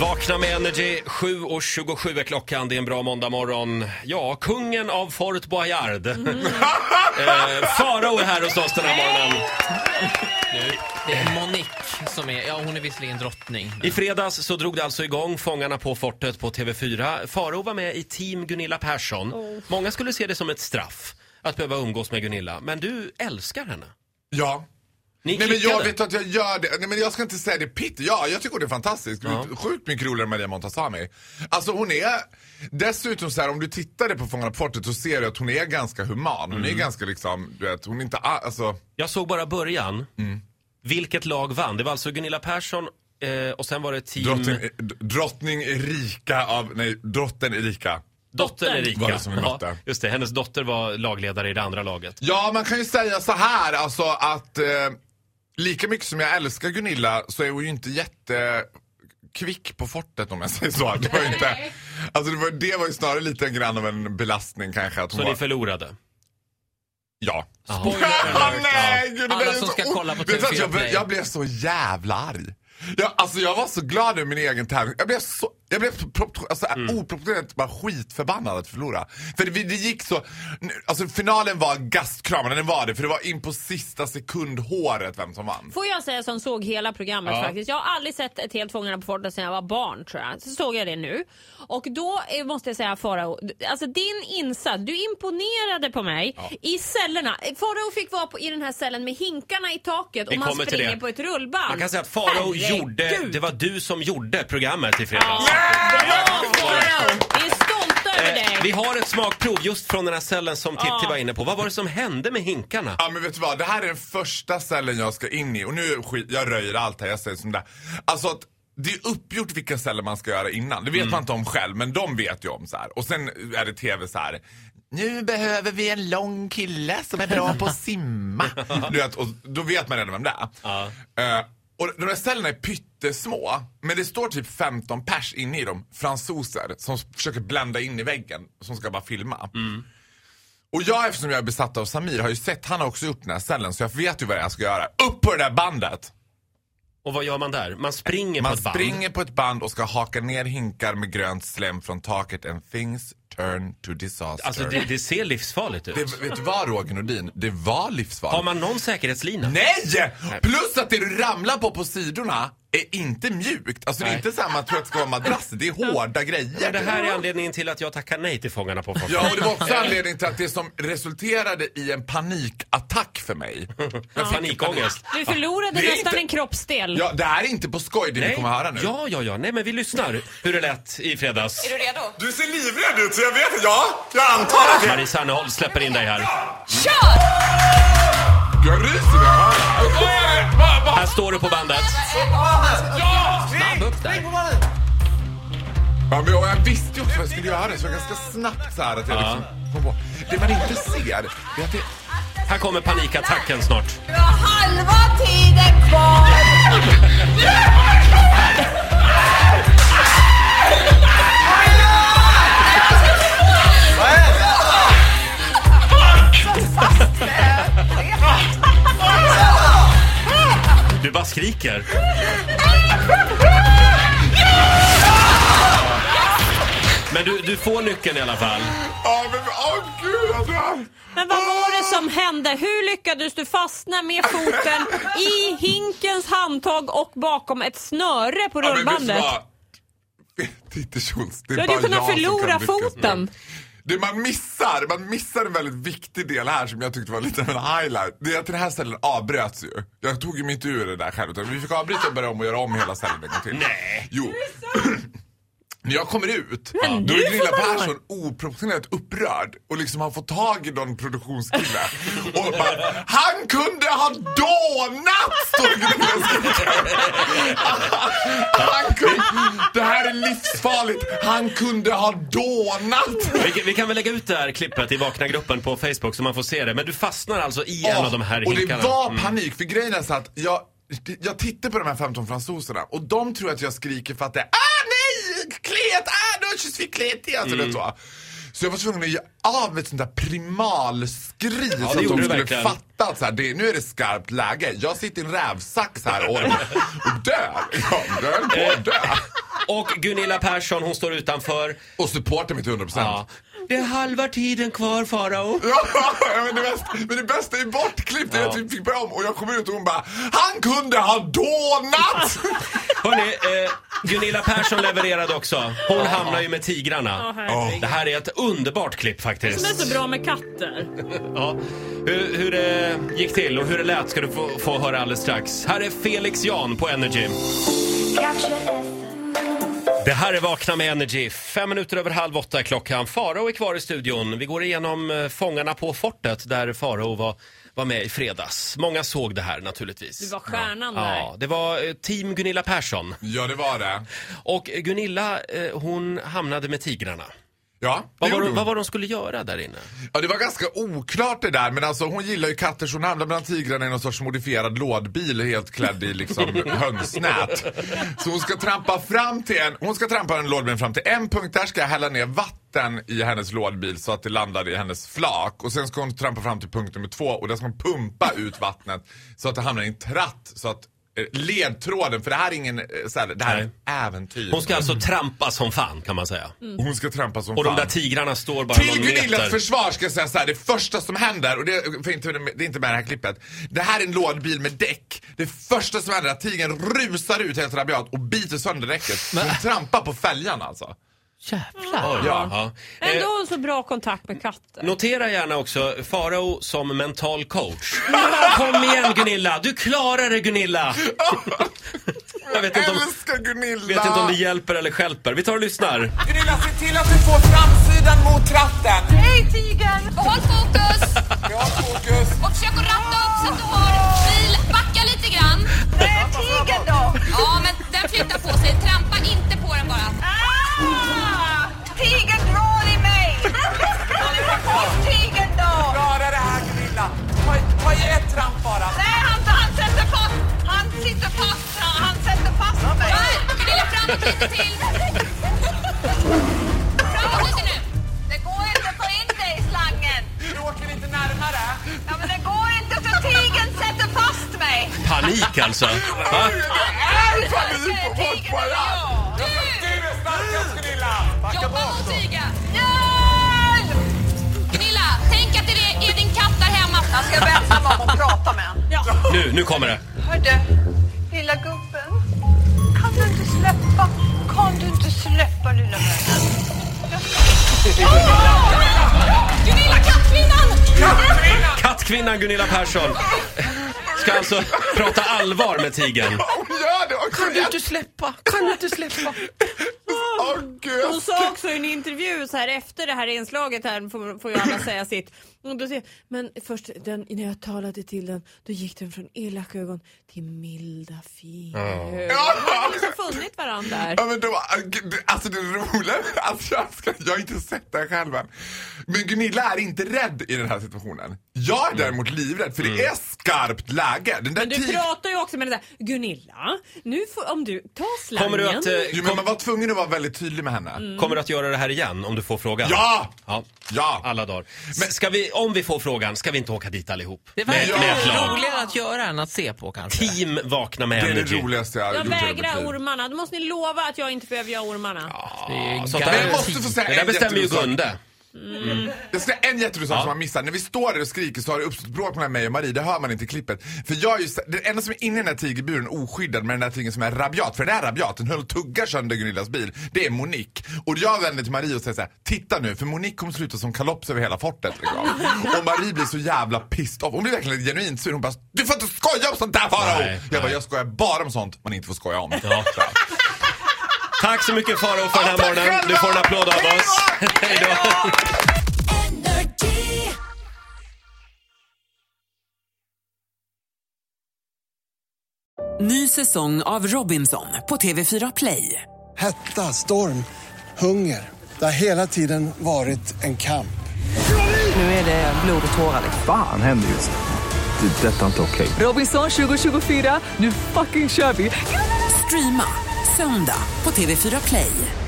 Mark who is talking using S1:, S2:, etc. S1: Vakna med Energy, 7.27 är klockan. Det är en bra måndagmorgon. Ja, kungen av Fort Boyard. eh, Farao är här hos oss den här morgonen.
S2: Nu. Det är Monique som är, ja hon är visserligen drottning. men-
S1: I fredags så drog det alltså igång Fångarna på fortet på TV4. Farao var med i team Gunilla Persson. Många skulle se det som ett straff att behöva umgås med Gunilla. Men du älskar henne.
S3: Ja.
S1: Ni
S3: Nej men jag
S1: klickade.
S3: vet att jag gör det. Nej men jag ska inte säga det pitt. Ja, jag tycker hon är fantastisk.
S1: Ja.
S3: Sjukt mycket roligare än Maria Montazami. Alltså hon är... Dessutom så här, om du tittade på Fångarna på fortet så ser du att hon är ganska human. Hon är ganska liksom, du vet, hon är inte a- alltså...
S1: Jag såg bara början.
S3: Mm.
S1: Vilket lag vann? Det var alltså Gunilla Persson eh, och sen var det team...
S3: Drottning, d- drottning Erika av... Nej, drotten Erika.
S1: Dottern Erika.
S3: Var det som vi mötte.
S1: just det, hennes dotter var lagledare i det andra laget.
S3: Ja, man kan ju säga så här alltså att eh, lika mycket som jag älskar Gunilla så är hon ju inte jätte kvick på fortet om jag säger så. Det var ju inte, alltså det var, det var ju snarare lite grann av en belastning kanske att hon
S1: Så
S3: var,
S1: ni förlorade.
S3: Ja.
S2: Spoiler alert.
S3: nej, gud, det
S2: Alla
S3: där är
S2: som
S3: så
S2: ska
S3: o-
S2: kolla på
S3: Vet du att
S2: TV4
S3: jag, blev-
S2: Play.
S3: jag blev så jävla arg. Jag, alltså jag var så glad över min egen tävling. Jag blev så jag blev så prop- alltså,
S2: Mm.
S3: oproportionerligt bara skitförbannad att förlora. För det, det gick så... Alltså finalen var gastkramande, den var det. För det var in på sista sekund håret vem som vann.
S4: Får jag säga som såg hela programmet
S1: Ja.
S4: faktiskt. Jag har aldrig sett ett helt Fångarna på fortet sedan jag var barn tror jag. Så såg jag det nu. Och då eh, måste jag säga Farao, d- alltså din insats, du imponerade på mig i cellerna. Eh, Farao fick vara på, i den här cellen med hinkarna i taket
S1: Vi
S4: och man
S1: kommer till
S4: springer
S1: det.
S4: på ett rullband.
S1: Man kan säga att Farao
S4: Herregud.
S1: gjorde, det var du som gjorde programmet i
S4: Ja,
S1: fredags.
S4: Bra Farao! Vi är stolta över dig.
S1: Eh, Vi har ett smakprov just från den här cellen som Titti
S4: Ja.
S1: var inne på. Vad var det som hände med hinkarna?
S3: Ja men vet du vad, det här är den första cellen jag ska in i och nu skit, jag röjer allt här, jag säger som det är. Alltså att det är uppgjort vilka celler man ska göra innan. Det vet man inte om själv men de vet ju om så här. Och sen är det tv så här. Nu behöver vi en lång kille som är bra på att simma. Du vet, och då vet man redan vem det är.
S1: Ja.
S3: Eh, och de där cellerna är pyttesmå, men det står typ 15 pers inne i dem, fransoser, som s- försöker blända in i väggen, som ska bara filma. Och jag eftersom jag är besatt av Samir har ju sett, han har också gjort den här cellen så jag vet ju vad det är jag ska göra. Upp på det där bandet!
S1: Och vad gör man där? Man springer på
S3: Man
S1: ett band.
S3: springer på ett band och ska haka ner hinkar med grönt slem från taket and things turn to disaster.
S1: Alltså det, det ser livsfarligt ut.
S3: det, vet du vad Roger Nordin? Det var livsfarligt.
S1: Har man någon säkerhetslina?
S3: Nej! Plus att det du ramlar på på sidorna är inte mjukt. Alltså det är
S1: Nej.
S3: inte samma att det ska vara madrass, det är hårda grejer.
S1: Det här är anledningen till att jag tackar nej till Fångarna på fortet.
S3: Ja, och det var också anledningen till att det som resulterade i en panikattack för mig.
S1: Jag fick Panikångest.
S4: Du förlorade
S3: Det är
S4: nästan
S3: inte-
S4: en kroppsdel.
S3: Ja, det här är inte på skoj det vi
S1: Nej.
S3: kommer höra nu.
S1: Ja, ja, ja. Nej, men vi lyssnar hur det lät i fredags.
S3: Du ser livrädd ut så jag vet att ja, jag antar att
S1: Marie Serneholt släpper in dig här.
S3: Jag ryser när jag hör
S1: Här står du på bandet.
S2: Snabb upp där.
S3: ja, men, och Jag visste ju också vad jag skulle göra så jag var ganska snabbt så här att jag liksom kom på. Det man inte ser, det är att det...
S1: Här kommer panikattacken snart.
S5: Du har halva tiden kvar!
S1: Du bara skriker. Men du, du får nyckeln i alla fall.
S3: Ja, men åh gud alltså!
S4: Men vad var det som hände? Hur lyckades du fastna med foten i hinkens handtag och bakom ett snöre på
S3: Ja, men vet
S4: rullbandet?
S3: du vad? Titti Schultz, det är
S4: Du hade
S3: bara
S4: ju kunnat
S3: jag som
S4: förlora
S3: kan lyckas med
S4: foten.
S3: Det man missar, man missar en väldigt viktig del här som jag tyckte var lite av en highlight. Det är att den här cellen avbröts ju. Jag tog ju inte ur det där själv utan vi fick avbryta och börja om och göra om hela cellen en gång till. Nej! Jo. När jag kommer ut, då är Gunilla Persson oproportionerligt upprörd och liksom har fått tag i någon produktionskille. Och bara, han kunde ha dånat! Står det Gunilla och skriker. Han kunde, det här är livsfarligt. Han kunde ha dånat!
S1: Vi, vi kan väl lägga ut det här klippet i Vakna-gruppen på Facebook så man får se det. Men du fastnar alltså i en
S3: Ja,
S1: av de här
S3: Och det
S1: hinkarna. Mm.
S3: var panik, för grejen är så att jag, jag tittar på de här 15 fransoserna och de tror att jag skriker för att det är ah, nej, kliet, ah, nu kyss vi kliet igen. Så,
S1: Mm.
S3: det så. så jag var tvungen att ge av ett sånt där primalskri så att de
S1: gjorde du
S3: skulle
S1: verkligen.
S3: fatta att så här, det, nu är det skarpt
S1: Eh.
S3: läge. Jag sitter i en rävsax här och, och dör. Jag dör på att dö.
S1: Och Gunilla Persson, hon står utanför.
S3: Och supportar mig till 100%.
S1: Ja. Det är halva tiden kvar Farao.
S3: Ja, men, det bästa, men det bästa är bortklippt. Jag typ fick börja om och jag kommer ut och hon bara Han kunde ha dånat!
S1: Hörrni, eh, Gunilla Persson levererade också. Hon hamnar ju med
S4: Ja,
S1: tigrarna.
S4: herregud.
S1: Det här är ett underbart klipp
S4: Som är
S1: faktiskt.
S4: så bra med katter.
S1: Ja. Hur, hur det gick till och hur det lät ska du få, få höra alldeles strax. Här är Felix Jan på Energy. Det här är Vakna med Energy. Fem minuter över halv åtta är klockan. Farao är kvar i studion. Vi går igenom eh, Fångarna på fortet där Farao var, var med i fredags. Många såg det här naturligtvis.
S4: Du var stjärnan
S1: Ja,
S4: där.
S1: det var eh, team Gunilla Persson.
S3: Ja, det var det.
S1: Och Gunilla, eh, hon hamnade med tigrarna.
S3: Ja, det
S1: Vad var,
S3: gjorde
S1: de-
S3: hon.
S1: vad var de skulle göra där inne?
S3: Ja, det var ganska oklart det där. Men alltså hon gillar ju katter så hon hamnar bland tigrarna i någon sorts modifierad lådbil helt klädd i liksom hönsnät. Så hon ska trampa fram till en, hon ska trampa en lådbil fram till en punkt. Där ska jag hälla ner vatten i hennes lådbil så att det landar i hennes flak. Och sen ska hon trampa fram till punkt nummer två och där ska hon pumpa ut vattnet så att det hamnar i en tratt. Så att eh, ledtråden, för det här är ingen, eh, så här, det här är ett äventyr.
S1: Hon ska alltså trampa som fan kan man säga.
S3: hon ska trampa som
S1: Och de
S3: fan.
S1: där tigrarna står bara
S3: Till
S1: någon meter.
S3: Gunillas försvar ska jag säga så här, det första som händer, och det, är- för inte, det är inte med i det här klippet. Det här är en lådbil med däck. Det första som händer är att tigern rusar ut helt rabiat och biter sönder däcket. Hon trampar på fäljan alltså.
S2: Jävlar.
S1: Ja. Eh,
S4: Ändå har hon så bra kontakt med katter.
S1: Notera gärna också Farao som mental coach. Kom igen Gunilla, du klarar det Gunilla! Jag vet inte om,
S3: Älskar Gunilla!
S1: vet inte om det hjälper eller stjälper. Vi tar och lyssnar.
S6: Gunilla, se till att du får framsidan mot tratten.
S5: Hej tigern! Behåll fokus
S6: Bra fokus.
S5: och försök att ratta upp så att du har bil. Backa lite grann.
S6: Nej, tigern då?
S5: Ja, men den flyttar på sig. Trampa inte på den bara.
S6: Ah!
S5: Tigern drar i mig! Tigern då!
S6: Klara det här, Gunilla. Ta, ta i ett tramp bara.
S5: Nej, han, han sätter fast! Han sitter fast! Han sätter fast mig! Gunilla, framåt lite till! Framåt lite nu! Det går inte att få in dig i slangen!
S6: Du åker lite närmare.
S5: Ja, men det går inte för tigern sätter fast mig!
S1: Panik alltså. Va?
S5: är
S3: panik på vårt program.
S6: Du är starkast, Gunilla. Backa
S5: Jobba mot
S6: bort.
S5: tigern! Hjälp! Gunilla, tänk att det är din katt där hemma.
S7: Jag ska vända mig om och prata med honom.
S1: Nu, nu kommer det.
S7: Hörde, lilla gubben. Kan du inte släppa? Kan du inte släppa lilla vännen?
S5: Gunilla, kattkvinnan!
S1: Kattkvinnan Gunilla Persson ska alltså prata allvar med tigern.
S3: Hon gör det också! Kan du inte
S2: Släppa, kan du inte släppa?
S3: Åh gud!
S4: Hon sa också i en intervju så här efter det här inslaget här får, får ju alla säga sitt. Och då säger, men först den, när jag talade till den då gick den från elaka ögon till milda fina ögon. De har liksom funnit varandra där.
S3: Ja, men då, alltså det roliga, alltså jag, ska, jag har inte sett det här själv än. Men Gunilla är inte rädd i den här situationen. Jag är däremot livrädd för det är skarpt läge. Den där
S4: Men du
S3: tig-
S4: pratar ju också med den där Gunilla, nu får, om du tar slangen.
S1: Kommer du att,
S3: Jo,
S1: eh,
S3: men man var tvungen att vara väldigt tydlig med henne.
S4: Mm.
S1: kommer du att göra det här igen om du får frågan?
S3: Ja!
S1: ja.
S3: Ja!
S1: Alla dagar. Men ska vi, om vi får frågan, ska vi inte åka dit allihop?
S2: Det
S1: med,
S2: verkar
S1: med ett lag.
S2: roligare att göra än att se på kanske.
S1: Team Vakna med
S3: Det är
S1: Energy.
S3: det roligaste jag har
S4: Jag
S3: gjort i hela mitt
S4: vägrar
S3: liv.
S4: ormarna, då måste ni lova att jag inte behöver göra ormarna.
S2: Det är ju
S1: Sånt
S3: Men
S1: där,
S3: jag måste få säga
S1: det där
S3: en
S1: bestämmer ju
S3: jätterolig sak.
S1: Gunde.
S3: Jag ska en jätterolig sak som man missar. När vi står där och skriker så har det uppstått bråk mellan mig och Marie. Det hör man inte i klippet. För jag är ju, den enda som är inne i den här tigerburen oskyddad med den där tigern som är rabiat. För den är rabiat. Den höll och tuggar sönder Gunillas bil. Det är Monique. Och jag vänder till Marie och säger så här. Titta nu för Monique kommer sluta som kalops över hela fortet. Liksom. Och Marie blir så jävla pissed off. Hon blir verkligen genuint sur. Hon bara du får inte skoja om sånt där Farao!
S1: Nej,
S3: Jag bara
S1: nej.
S3: jag skojar bara om sånt man inte får skoja om.
S1: Ja. Tack så mycket Faro för den här
S3: Ja, tack
S1: morgonen.
S3: själva!
S1: Du får en applåd av
S3: Hej
S1: oss.
S3: då!
S1: Hej då.
S8: Ny säsong av Robinson på TV4 Play.
S9: Hetta, storm, hunger. Det har hela tiden varit en kamp.
S8: Nu är det blod och tårar.
S10: Fan händer just det. Det är detta inte okej.
S8: Robinson 2024, nu fucking kör vi! Streama söndag på TV4 Play.